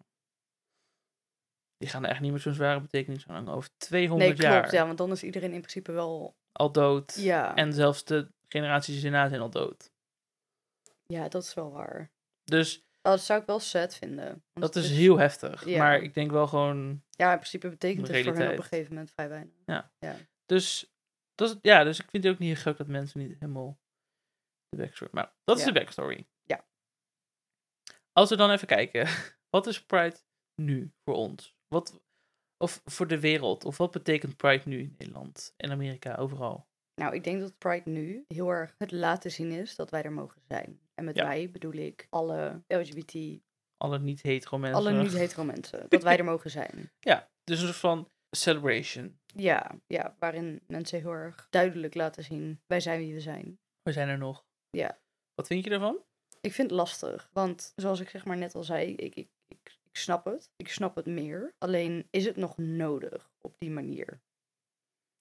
A: Die gaan er echt niet meer zo'n zware betekenis aan hangen. Over 200
B: Nee,
A: jaar
B: klopt. Ja, want dan is iedereen in principe wel...
A: al dood.
B: Ja.
A: En zelfs de generaties hierna zijn al dood.
B: ja, dat is wel waar.
A: Dus
B: Oh, dat zou ik wel sad vinden. Want
A: dat
B: het
A: is heel heftig.
B: Ja.
A: Maar ik denk wel gewoon...
B: Ja, in principe betekent het voor hen op
A: Realiteit.
B: een gegeven moment vrij weinig.
A: Dus, dat is, ja, dus ik vind het ook niet gek dat mensen niet helemaal de backstory... Maar dat is
B: Ja.
A: de backstory.
B: Ja.
A: Als we dan even kijken. [laughs] Wat is Pride nu voor ons? Wat, of voor de wereld? Of wat betekent Pride nu in Nederland en Amerika overal?
B: Nou, ik denk dat Pride nu heel erg het laten zien is dat wij er mogen zijn. En met
A: Ja.
B: wij bedoel ik alle LGBT,
A: Alle niet-hetero mensen.
B: alle niet-hetero mensen. Dat
A: [laughs]
B: wij er mogen zijn.
A: Ja, dus een soort van celebration.
B: Ja, ja, waarin mensen heel erg duidelijk laten zien, wij zijn wie we zijn.
A: We zijn er nog.
B: Ja.
A: Wat vind je daarvan?
B: Ik vind het lastig, want zoals ik zeg maar net al zei, ik, ik, ik, ik snap het. Ik snap het meer. Alleen is het nog nodig op die manier?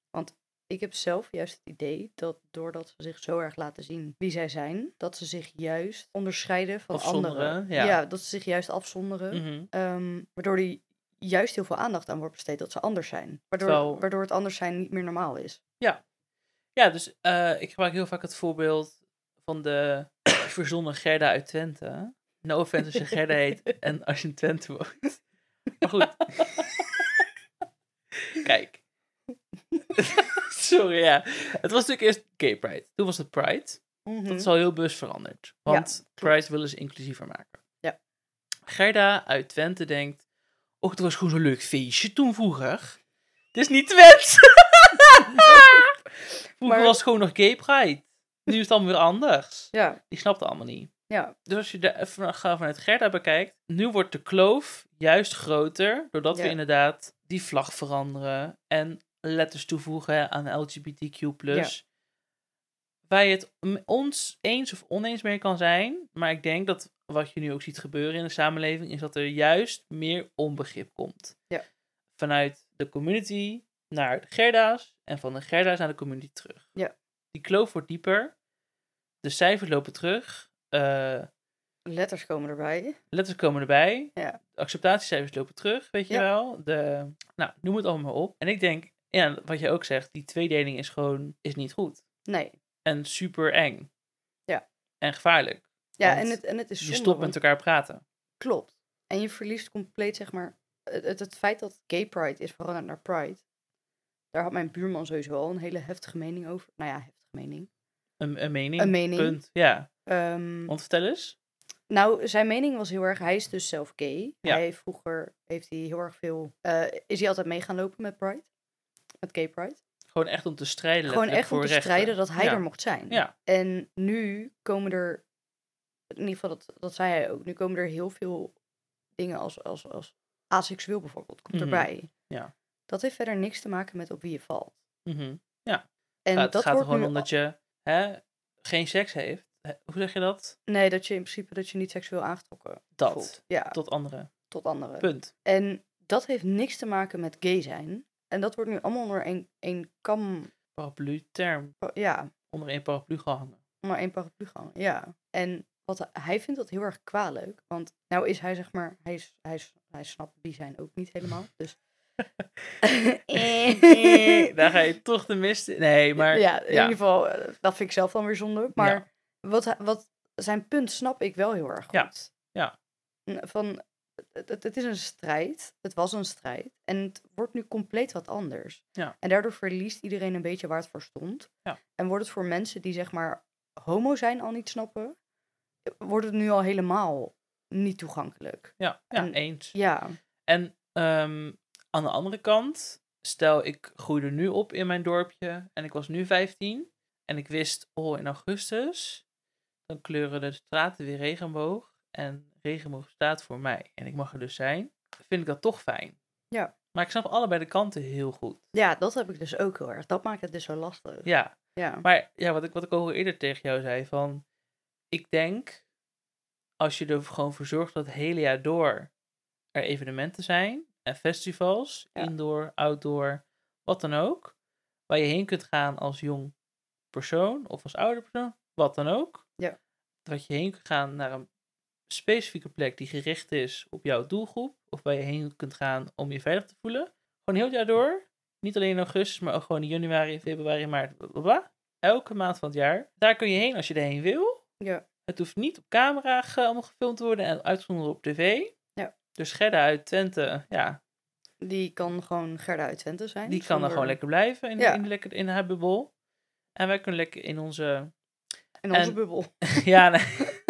B: Want ik heb zelf juist het idee dat doordat ze zich zo erg laten zien wie zij zijn, dat ze zich juist onderscheiden van anderen.
A: Afzonderen, ja.
B: dat ze zich juist afzonderen.
A: Mhm.
B: Ehm, waardoor er juist heel veel aandacht aan wordt besteed dat ze anders zijn. Waardoor,
A: Terwijl-
B: waardoor het anders zijn niet meer normaal is.
A: Ja, dus eh, ik gebruik heel vaak het voorbeeld van de [coughs] verzonnen Gerda uit Twente. No offense als je Gerda heet en als je in Twente woont. Maar goed. Kijk. [laughs] Sorry, ja. Het was natuurlijk eerst gay pride. Toen was het pride.
B: Mhm.
A: Dat is al heel bewust veranderd. Want Pride willen ze inclusiever maken.
B: Ja.
A: Gerda uit Twente denkt... Och, het was gewoon zo'n leuk feestje toen vroeger. Het is niet Twente. [laughs] vroeger
B: Maar-
A: was het gewoon nog Gay Pride. Nu is het allemaal weer anders.
B: Ja,
A: Die snapt het allemaal niet.
B: ja,
A: Dus als je daar even ga- vanuit Gerda bekijkt... Nu wordt de kloof juist groter... doordat we
B: Ja.
A: inderdaad die vlag veranderen... en letters toevoegen aan LGBTQ+. Waar je het m- ons eens of oneens mee kan zijn. Maar ik denk dat wat je nu ook ziet gebeuren in de samenleving... is dat er juist meer onbegrip komt.
B: Ja.
A: Vanuit de community naar de Gerda's... en van de Gerda's naar de community terug.
B: Ja.
A: Die kloof wordt dieper. De cijfers lopen terug. eh,
B: letters komen erbij.
A: letters komen erbij.
B: Ja.
A: De acceptatiecijfers lopen terug, weet je
B: Ja.
A: wel. De, nou, noem het allemaal maar op. En ik denk, ja, wat je ook zegt, die tweedeling is gewoon is niet goed.
B: Nee.
A: En super eng.
B: Ja.
A: En gevaarlijk.
B: Ja,
A: Want
B: en het, en het is
A: je
B: zonde,
A: stopt
B: want-
A: met elkaar praten.
B: Klopt. En je verliest compleet, zeg maar... Het, het, het feit dat gay pride is veranderd naar pride... Daar had mijn buurman sowieso al een hele heftige mening over. Nou ja, heftige mening.
A: Een, een mening.
B: Een mening.
A: Punt. Ja.
B: Ehm,
A: Want vertel eens.
B: nou, zijn mening was heel erg... Hij is dus zelf gay.
A: Ja.
B: Hij vroeger heeft hij heel erg veel... eh, is hij altijd mee gaan lopen met pride? Met gay pride?
A: Gewoon echt om te strijden.
B: Gewoon
A: letterlijk
B: echt om
A: voor
B: te
A: rechten.
B: strijden dat hij
A: Ja.
B: er mocht zijn.
A: Ja.
B: En nu komen er, in ieder geval dat, dat zei hij ook, nu komen er heel veel dingen als, als, als asexueel bijvoorbeeld, komt
A: Mhm.
B: erbij.
A: Ja.
B: Dat heeft verder niks te maken met op wie je valt.
A: Mhm.
B: En
A: Ja, het
B: dat
A: gaat er
B: wordt
A: gewoon
B: nu
A: om dat je hè, geen seks heeft. Hè, Hoe zeg je dat?
B: al- Nee, dat je in principe dat je niet seksueel aangetrokken
A: Dat.
B: voelt. Ja,
A: Tot anderen.
B: tot anderen.
A: Punt.
B: En dat heeft niks te maken met gay zijn. En dat wordt nu allemaal onder één, één kam,
A: Paraplu term.
B: ja,
A: Onder één paraplu gehangen.
B: maar één paraplu gewoon, ja. En wat, hij vindt dat heel erg kwalijk. Want nou is hij zeg maar, hij, is, hij, is, hij snapt wie zijn ook niet helemaal. Dus... [laughs] Nou,
A: Eh, Daar ga je toch de mist in. Nee, maar
B: ja, in
A: ja.
B: ieder geval, eh, dat vind ik zelf dan weer zonde. Maar wat, hij- wat zijn punt snap ik wel heel erg goed.
A: Ja, ja.
B: N- Van, het, het- het is een strijd. Het was een strijd. En het wordt nu compleet wat anders.
A: Ja.
B: En daardoor verliest iedereen een beetje waar het voor stond.
A: Ja.
B: En wordt het voor mensen die zeg maar homo zijn al niet snappen, eh, wordt het nu al helemaal niet toegankelijk.
A: Ja, ja
B: En-
A: eens.
B: Ja,
A: En ehm, aan de andere kant, stel ik groeide nu op in mijn dorpje en ik was nu 15 en ik wist, oh in augustus, dan kleuren de straten weer regenboog en regenboog staat voor mij en ik mag er dus zijn, vind ik dat toch fijn.
B: Ja.
A: Maar ik snap allebei de kanten heel goed.
B: ja dat heb ik dus ook heel erg. Dat maakt het dus zo lastig.
A: Ja.
B: Ja.
A: Maar ja, wat ik, wat ik al eerder tegen jou zei, van ik denk als je er gewoon voor zorgt dat het hele jaar door er evenementen zijn en festivals,
B: Ja.
A: indoor, outdoor, wat dan ook, waar je heen kunt gaan als jong persoon of als ouder persoon, wat dan ook.
B: Ja.
A: Dat je heen kunt gaan naar een specifieke plek die gericht is op jouw doelgroep of waar je heen kunt gaan om je veilig te voelen. Gewoon heel het jaar door. Niet alleen in augustus, maar ook gewoon in januari, februari, maart, bla bla, bla. Elke maand van het jaar. Daar kun je heen als je erheen wil.
B: Ja.
A: Het hoeft niet op camera ge- allemaal gefilmd te worden en uitgezonden op tv.
B: Ja.
A: Dus Gerda uit Twente, ja,
B: Die kan gewoon Gerda uit Twente zijn.
A: die kan dan
B: zonder-
A: gewoon lekker blijven in,
B: Ja.
A: in, lekker, in haar bubbel. En wij kunnen lekker in onze... [laughs]
B: In onze
A: en-
B: bubbel.
A: ja, nee.
B: [laughs]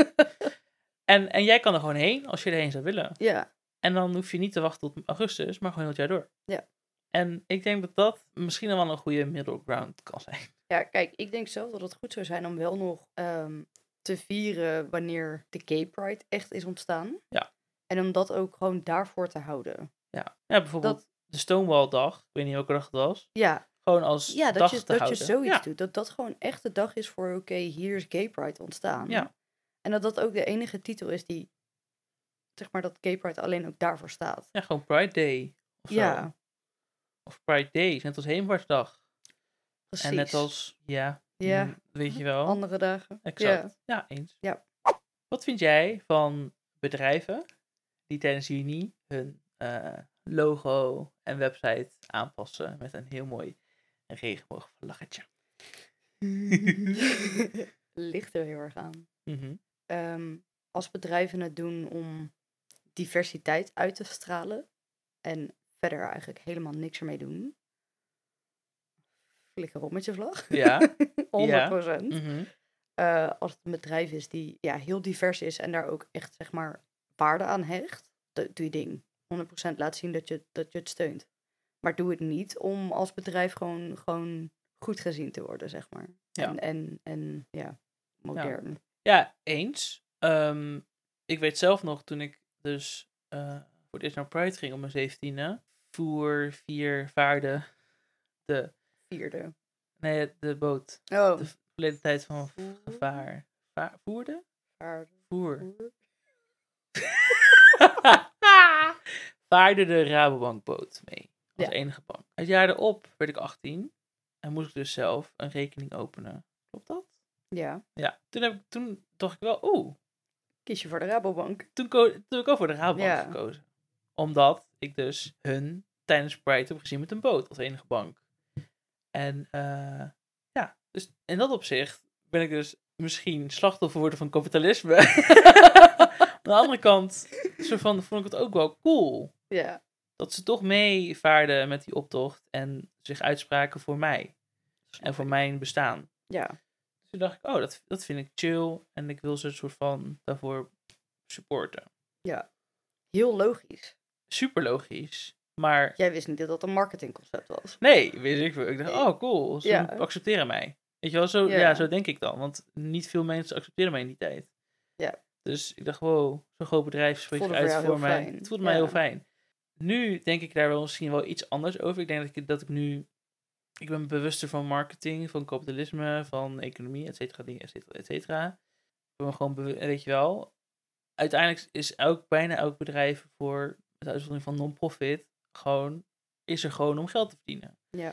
A: en, en jij kan er gewoon heen als je erheen zou willen.
B: Ja,
A: En dan hoef je niet te wachten tot augustus, maar gewoon heel het jaar door.
B: Ja.
A: En ik denk dat dat misschien wel een goede middle ground kan zijn.
B: Ja, kijk, ik denk zelf dat het goed zou zijn om wel nog ehm, te vieren wanneer de Gay Pride echt is ontstaan.
A: Ja.
B: En om dat ook gewoon daarvoor te houden.
A: Ja, ja bijvoorbeeld
B: Dat-
A: de Stonewall-dag. Ik weet niet welke dag het was.
B: Ja,
A: Gewoon als
B: ja dat,
A: dag
B: je,
A: te
B: dat je
A: houden.
B: zoiets
A: ja.
B: doet. Dat dat gewoon echt de dag is voor, oké, hier is Gay Pride ontstaan.
A: Ja.
B: En dat dat ook de enige titel is die, zeg maar, dat Gay Pride alleen ook daarvoor staat.
A: ja, gewoon Pride Day. Of
B: Ja.
A: zo. Of Pride Days, net als Heemwaartsdag.
B: Precies.
A: En net als, ja,
B: Ja.
A: mm, weet je wel.
B: Andere
A: [laughs]
B: dagen.
A: Exact. Ja, eens.
B: Ja.
A: Wat vind jij van bedrijven die tijdens juni hun eh, logo en website aanpassen met een heel mooi regenboogvlaggetje?
B: Ligt er heel erg aan.
A: Mhm.
B: ehm, als bedrijven het doen om diversiteit uit te stralen en verder eigenlijk helemaal niks ermee doen. Flikker op met je [laughs] vlag.
A: Ja.
B: 100 procent. Eh,
A: mhm.
B: als het een bedrijf is die ja, heel divers is en daar ook echt zeg maar waarde aan hecht, do- doe je ding. 100% laat zien dat je, dat je het steunt. Maar doe het niet om als bedrijf gewoon, gewoon goed gezien te worden, zeg maar.
A: Ja.
B: En, en, en ja, modern.
A: Ja, eens. Ehm, ik weet zelf nog, toen ik dus eh, voor het eerst naar Pride ging op mijn zeventiende, voer vier vaarden de,
B: Vierde.
A: nee, de boot.
B: Oh,
A: De volledige tijd van gevaar. Va- voerde?
B: maar-
A: Voer. [laughs] Vaarde de Rabobankboot mee. Als
B: Ja.
A: enige bank. Het jaar erop werd ik 18 en moest ik dus zelf een rekening openen. Klopt dat?
B: Ja,
A: Ja. Toen, heb ik, toen dacht ik wel, oeh,
B: kies je voor de Rabobank.
A: toen, ko- toen heb ik ook voor de Rabobank
B: Ja.
A: gekozen. Omdat ik dus hun tijdens Pride heb gezien met een boot als enige bank. En eh, ja, dus in dat opzicht ben ik dus misschien slachtoffer geworden van kapitalisme. [laughs] Aan de andere kant soort van, vond ik het ook wel cool.
B: Ja,
A: Dat ze toch meevaarden met die optocht en zich uitspraken voor mij. En voor mijn bestaan.
B: ja.
A: Dus toen dacht ik, oh, dat, dat vind ik chill. En ik wil ze een soort van daarvoor supporten.
B: Heel logisch.
A: super logisch. Maar
B: Jij wist niet dat dat een marketingconcept was.
A: nee, weet ik veel. Ik dacht, oh cool, ze
B: Ja.
A: accepteren mij. Weet je wel, zo, ja.
B: Ja.
A: zo denk ik dan. Want niet veel mensen accepteren mij in die tijd.
B: Ja.
A: Dus ik dacht, wow, zo'n groot bedrijf spreekt
B: Voelde
A: uit
B: voor jou
A: voor
B: heel
A: mij.
B: fijn.
A: Het voelde mij
B: Ja.
A: heel fijn. Nu denk ik daar wel misschien wel iets anders over. Ik denk dat ik, dat ik nu... Ik ben bewuster van marketing, van kapitalisme, van economie, et cetera, dingen, et cetera, et cetera. Ik ben gewoon, bewu- weet je wel... Uiteindelijk is elk, bijna elk bedrijf voor, met uitzondering van non-profit, gewoon, is er gewoon om geld te verdienen.
B: Ja,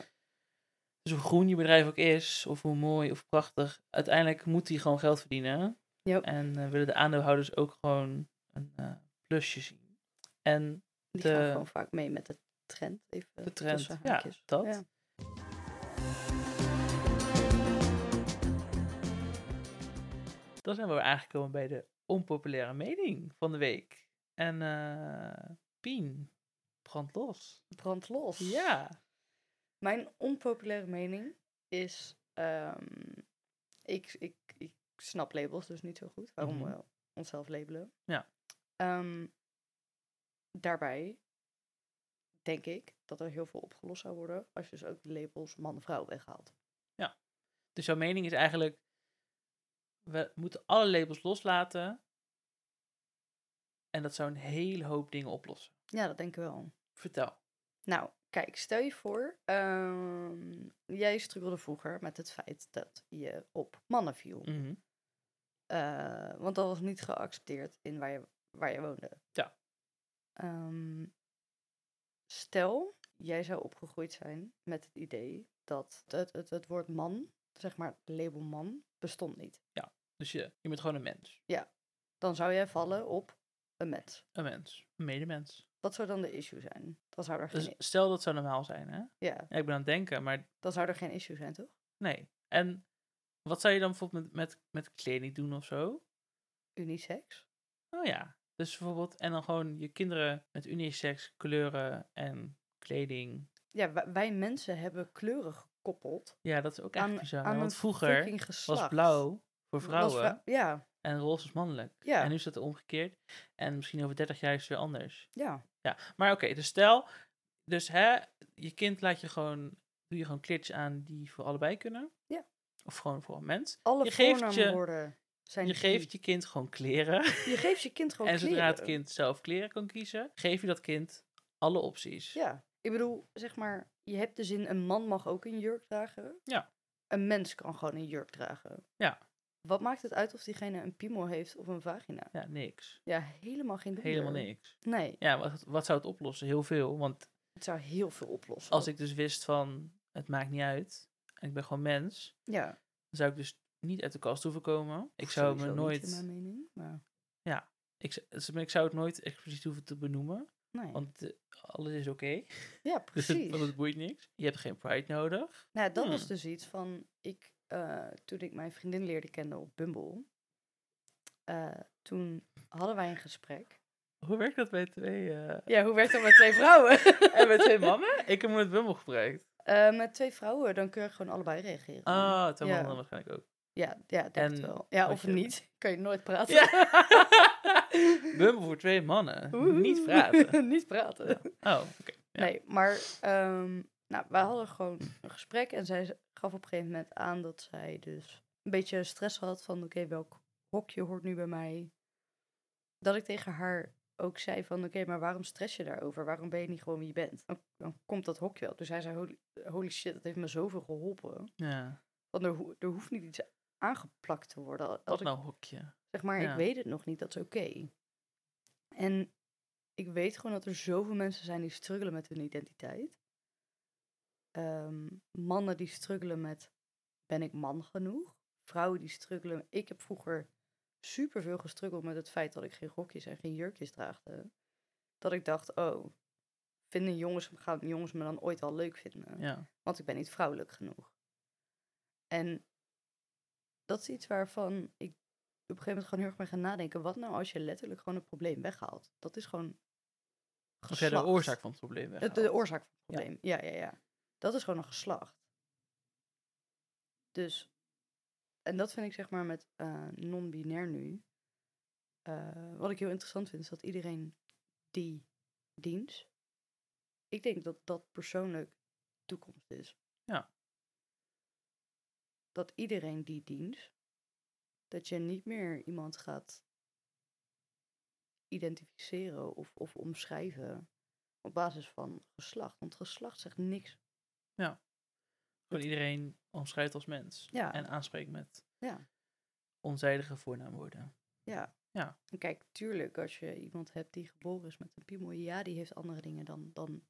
A: Dus hoe groen je bedrijf ook is, of hoe mooi of prachtig, uiteindelijk moet die gewoon geld verdienen.
B: Yep.
A: En eh, willen de aandeelhouders ook gewoon een eh, plusje zien. En
B: die
A: De-
B: gaan gewoon vaak mee met de trend. Even
A: de trend,
B: tussen
A: ja,
B: haakjes.
A: dat.
B: Ja.
A: Dan zijn we weer aangekomen bij de onpopulaire mening van de week. En eh, Pien, brand los.
B: Brand los.
A: Ja.
B: Mijn onpopulaire mening is... ehm, ik, ik, ik snap labels dus niet zo goed. Waarom
A: Mhm.
B: we onszelf labelen.
A: Ja.
B: Ehm, daarbij denk ik dat er heel veel opgelost zou worden... als je dus ook de labels man-vrouw weghaalt.
A: Dus jouw mening is eigenlijk, we moeten alle labels loslaten. En dat zou een hele hoop dingen oplossen.
B: Ja, dat denk ik wel.
A: Vertel.
B: Nou, kijk, stel je voor, ehm, jij struggelde vroeger met het feit dat je op mannen viel.
A: Mm.
B: Eh, want dat was niet geaccepteerd in waar je, waar je woonde.
A: Ja.
B: Ehm, stel, jij zou opgegroeid zijn met het idee dat het, het, het woord man, zeg maar het label man, bestond niet.
A: Dus je, je bent gewoon een mens.
B: Dan zou jij vallen op een mens.
A: Een mens. Een medemens.
B: Wat zou dan de issue zijn? Dan zou er geen,
A: Dus stel dat zou normaal zijn, hè?
B: ja,
A: Ja, ik ben aan het denken, maar
B: dan zou er geen issue zijn, toch?
A: nee. En wat zou je dan bijvoorbeeld met, met, met kleding doen of zo?
B: Unisex?
A: Oh ja. Dus bijvoorbeeld, en dan gewoon je kinderen met unisex kleuren en kleding.
B: Ja, wa- wij mensen hebben kleuren gekoppeld
A: Ja, dat is ook echt
B: aan,
A: bizar. hè?
B: aan
A: Want
B: een
A: vroeger
B: fucking geslacht.
A: was blauw voor
B: Was
A: vrouwen
B: vrou- ja,
A: en roze is mannelijk.
B: Ja.
A: En nu is dat omgekeerd. En misschien over 30 jaar is het weer anders.
B: ja,
A: Ja, maar oké, dus stel, dus hè, je kind laat je gewoon, doe je gewoon klitjes aan die voor allebei kunnen.
B: Ja.
A: Of gewoon voor een mens.
B: alle
A: Je geeft je-
B: voornaamwoorden zijn
A: Je
B: drie.
A: geeft je kind gewoon kleren.
B: je geeft je kind
A: [laughs]
B: gewoon
A: en zodra het
B: kleren.
A: kind zelf kleren kan kiezen, geef je dat kind alle opties.
B: Ja, ik bedoel, zeg maar, je hebt de zin een man mag ook een jurk dragen.
A: Ja.
B: Een mens kan gewoon een jurk dragen.
A: Ja.
B: Wat maakt het uit of diegene een piemel heeft of een vagina?
A: Ja, niks.
B: Ja, helemaal geen doel
A: Helemaal
B: meer.
A: niks.
B: Nee,
A: Ja, wat, wat zou het oplossen? Heel veel. Want
B: het zou heel veel oplossen.
A: als ik dus wist van, het maakt niet uit. En ik ben gewoon mens.
B: Ja.
A: Dan zou ik dus niet uit de kast hoeven komen. Ik
B: hoeft
A: zou me
B: sowieso niet
A: nooit...
B: In mijn mening, maar...
A: Ik, z- dus ik zou het nooit expliciet hoeven te benoemen,
B: Nee.
A: want eh, alles is oké.
B: Ja,
A: [laughs] Dus
B: precies.
A: het, want het boeit niks. Je hebt geen pride nodig.
B: Nou, dat
A: Hmm.
B: was dus iets van. Ik, eh, toen ik mijn vriendin leerde kennen op Bumble, eh, toen hadden wij een gesprek.
A: Hoe werkt dat bij twee, [laughs] eh,
B: Ja, hoe werkt dat met twee [laughs] vrouuen?
A: en bij twee mannen? Ik heb nooit Bumble gebruikt.
B: Eh, met twee vrouwen, dan kun je gewoon allebei reageren.
A: Ah, twee
B: Ja.
A: mannen waarschijnlijk ook.
B: Ja, ja, dat
A: En
B: wel. Ja,
A: wat
B: of
A: je-
B: niet. [laughs] Kan je nooit praten.
A: Ja. [laughs] Bumble voor twee mannen.
B: Woehoe.
A: Niet [laughs] praten.
B: [laughs] niet praten.
A: Oh, oké. Ja.
B: Nee, maar ehm, nou, wij hadden gewoon een gesprek en zij z- gaf op een gegeven moment aan dat zij dus een beetje stress had van oké, welk hokje hoort nu bij mij? Dat ik tegen haar ook zei van oké, maar waarom stress je daarover? Waarom ben je niet gewoon wie je bent? Dan, dan komt dat hokje wel. Dus hij zei holy, holy shit, dat heeft me zoveel geholpen.
A: Ja.
B: Want er, ho- er hoeft niet iets aangeplakt te worden. Als
A: Wat
B: ik-
A: nou hokje?
B: Zeg maar,
A: Ja.
B: ik weet het nog niet, dat is oké. En ik weet gewoon dat er zoveel mensen zijn die struggelen met hun identiteit. Ehm, mannen die struggelen met, ben ik man genoeg? Vrouwen die struggelen. Ik heb vroeger superveel gestruggeld met het feit dat ik geen rokjes en geen jurkjes draagde. Dat ik dacht, oh, vinden jongens, gaan jongens me dan ooit al leuk vinden?
A: Ja.
B: want ik ben niet vrouwelijk genoeg. En dat is iets waarvan ik op een gegeven moment gewoon heel erg mee ga nadenken. Wat nou als je letterlijk gewoon een probleem weghaalt? Dat is gewoon
A: Of jij de
B: geslacht.
A: oorzaak van het eh, probleem
B: Het-
A: weghaalt.
B: De, oorzaak van het
A: Ja.
B: probleem, ja. ja, ja, Dat is gewoon een geslacht. Dus, en dat vind ik zeg maar met eh, non-binair nu. eh, wat ik heel interessant vind, is dat iedereen die dient. Ik denk dat dat persoonlijk toekomst is.
A: Ja.
B: Dat iedereen die dient, dat je niet meer iemand gaat identificeren of, of omschrijven op basis van geslacht. Want geslacht zegt niks.
A: Gewoon iedereen omschrijft als mens.
B: Ja.
A: En aanspreekt met
B: Ja.
A: onzijdige voornaamwoorden.
B: En kijk, tuurlijk, als je iemand hebt die geboren is met een piemel, ja, die heeft andere dingen dan, dan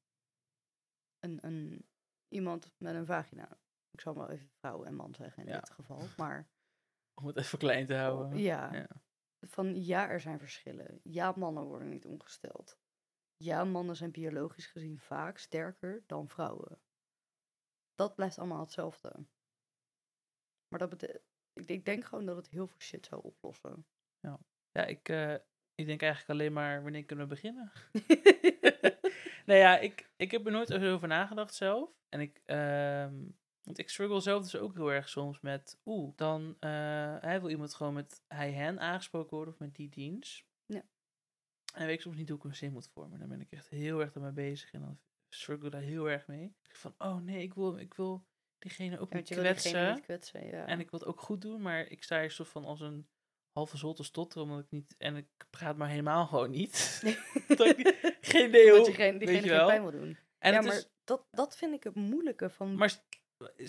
B: een, een, iemand met een vagina. Ik zal maar even vrouw en man zeggen in
A: Ja.
B: dit geval. Maar
A: Om het even klein te houden.
B: ja,
A: ja.
B: van ja, er zijn verschillen. Ja, mannen worden niet omgesteld. Ja, mannen zijn biologisch gezien vaak sterker dan vrouwen. Dat blijft allemaal hetzelfde. Maar dat betekent. Ik denk gewoon dat het heel veel shit zou oplossen.
A: Ja, ik, eh, Ik denk eigenlijk alleen maar wanneer kunnen we
B: [laughs]
A: beginnen. nou ja, ik, ik heb er nooit zo over nagedacht zelf. En ik, ehm, want ik struggle zelf dus ook heel erg soms met, oeh, dan eh, hij wil iemand gewoon met hij hen aangesproken worden of met die dienst.
B: Ja.
A: En weet ik soms niet hoe ik mijn zin moet vormen. Dan ben ik echt heel erg daarmee bezig en dan struggle daar heel erg mee. Van, oh nee, ik wil, ik wil diegene ook niet
B: Want je wil diegene
A: kwetsen.
B: niet kwetsen, ja.
A: En ik wil het ook goed doen, maar ik sta hier soort van als een halve zol te stotteren, omdat ik niet... En ik praat maar helemaal gewoon niet. dat
B: [laughs]
A: ik niet- [laughs] geen idee
B: Omdat
A: hoe.
B: diegene, diegene
A: weet je
B: geen
A: wel.
B: pijn wil doen.
A: En
B: ja,
A: het
B: maar
A: is-
B: dat, dat vind ik het moeilijke van
A: maar s-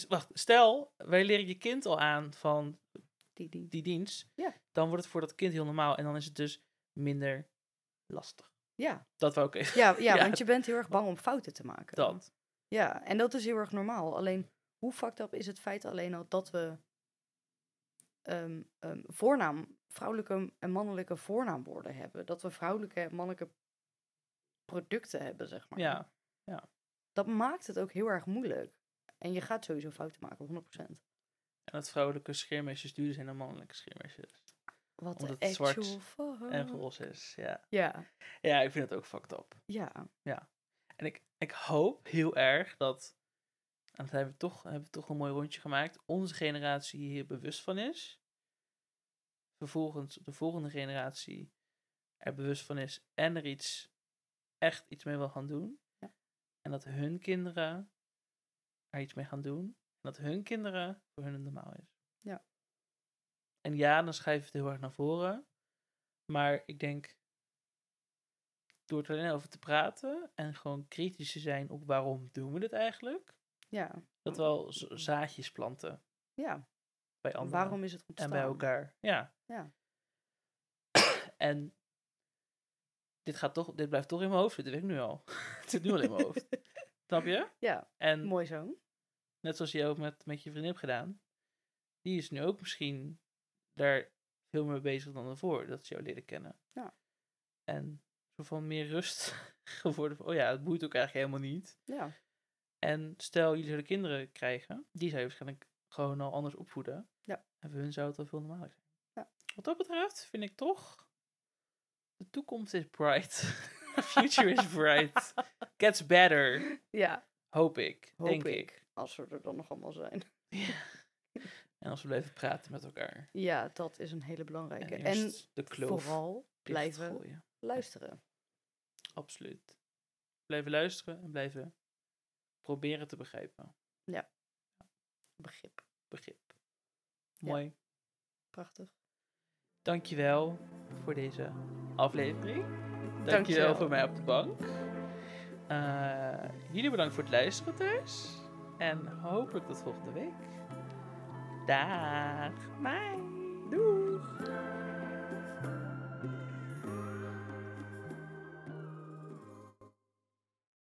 A: wacht, stel, wij leren je kind al aan van
B: die dienst.
A: die dienst.
B: Ja.
A: Dan wordt het voor dat kind heel normaal en dan is het dus minder lastig.
B: Ja.
A: Dat wou ik even.
B: Ja, ja,
A: Ja.
B: want je bent heel erg bang om fouten te maken.
A: Dat.
B: Ja, en dat is heel erg normaal. Alleen, hoe fucked up is het feit alleen al dat we ehm, ehm, voornaam, vrouwelijke en mannelijke voornaamwoorden hebben. Dat we vrouwelijke en mannelijke producten hebben, zeg maar.
A: Ja.
B: Dat maakt het ook heel erg moeilijk. En je gaat sowieso fouten maken, 100%.
A: En dat vrouwelijke scheermesjes duurder zijn dan mannelijke scheermesjes.
B: Wat
A: Omdat
B: de
A: het zwart
B: actual fuck.
A: En roze is, ja.
B: Ja,
A: Ja, ik vind het ook fucked up.
B: ja.
A: En ik, ik hoop heel erg dat. En dat hebben we, toch, hebben we toch een mooi rondje gemaakt. Onze generatie hier bewust van is. Vervolgens de volgende generatie er bewust van is. En er iets, echt iets mee wil gaan doen.
B: Ja.
A: En dat hun kinderen er iets mee gaan doen. En dat hun kinderen voor hun het normaal is.
B: Ja.
A: En ja, dan schrijf je het heel erg naar voren. Maar ik denk, door het alleen over te praten en gewoon kritisch te zijn op waarom doen we dit eigenlijk,
B: Ja,
A: dat wel z- zaadjes planten
B: ja.
A: bij anderen
B: Mm. Waarom is het ontstaan?
A: en bij elkaar. Ja.
B: Ja.
A: [coughs] en dit, gaat toch, dit blijft toch in mijn hoofd zitten, weet ik nu al. [laughs] het zit nu al in mijn
B: [laughs]
A: hoofd. Snap je?
B: Ja,
A: En
B: mooi zo.
A: net zoals je ook met, met je vriendin hebt gedaan, die is nu ook misschien daar veel meer bezig dan ervoor, dat ze jou leren kennen.
B: Ja.
A: En zo van meer rust [laughs] geworden. van, Oh ja, het boeit ook eigenlijk helemaal niet.
B: Ja,
A: En stel, jullie zouden kinderen krijgen, die zou je waarschijnlijk gewoon al anders opvoeden.
B: Ja.
A: En voor hun zou het al veel normaler zijn.
B: Ja.
A: Wat dat betreft vind ik toch, de toekomst is bright. [laughs] The [laughs] future is bright. Gets better,
B: [laughs] ja.
A: hoop ik. [laughs]
B: Hoop
A: denk
B: ik.
A: ik.
B: Als we er dan nog allemaal zijn.
A: Ja. En als we blijven praten met elkaar.
B: Ja, dat is een hele belangrijke.
A: En,
B: En,
A: eerst de kloof
B: vooral
A: dicht
B: blijven
A: gooien.
B: luisteren.
A: Absoluut. Blijven luisteren en blijven proberen te begrijpen.
B: Begrip.
A: Begrip.
B: Ja.
A: Mooi.
B: Prachtig.
A: Dankjewel voor deze aflevering. Dankjewel,
B: Dankjewel.
A: voor mij op de bank. Eh, jullie bedankt voor het luisteren thuis. En hopelijk tot volgende week. Daag. Bye. Doeg.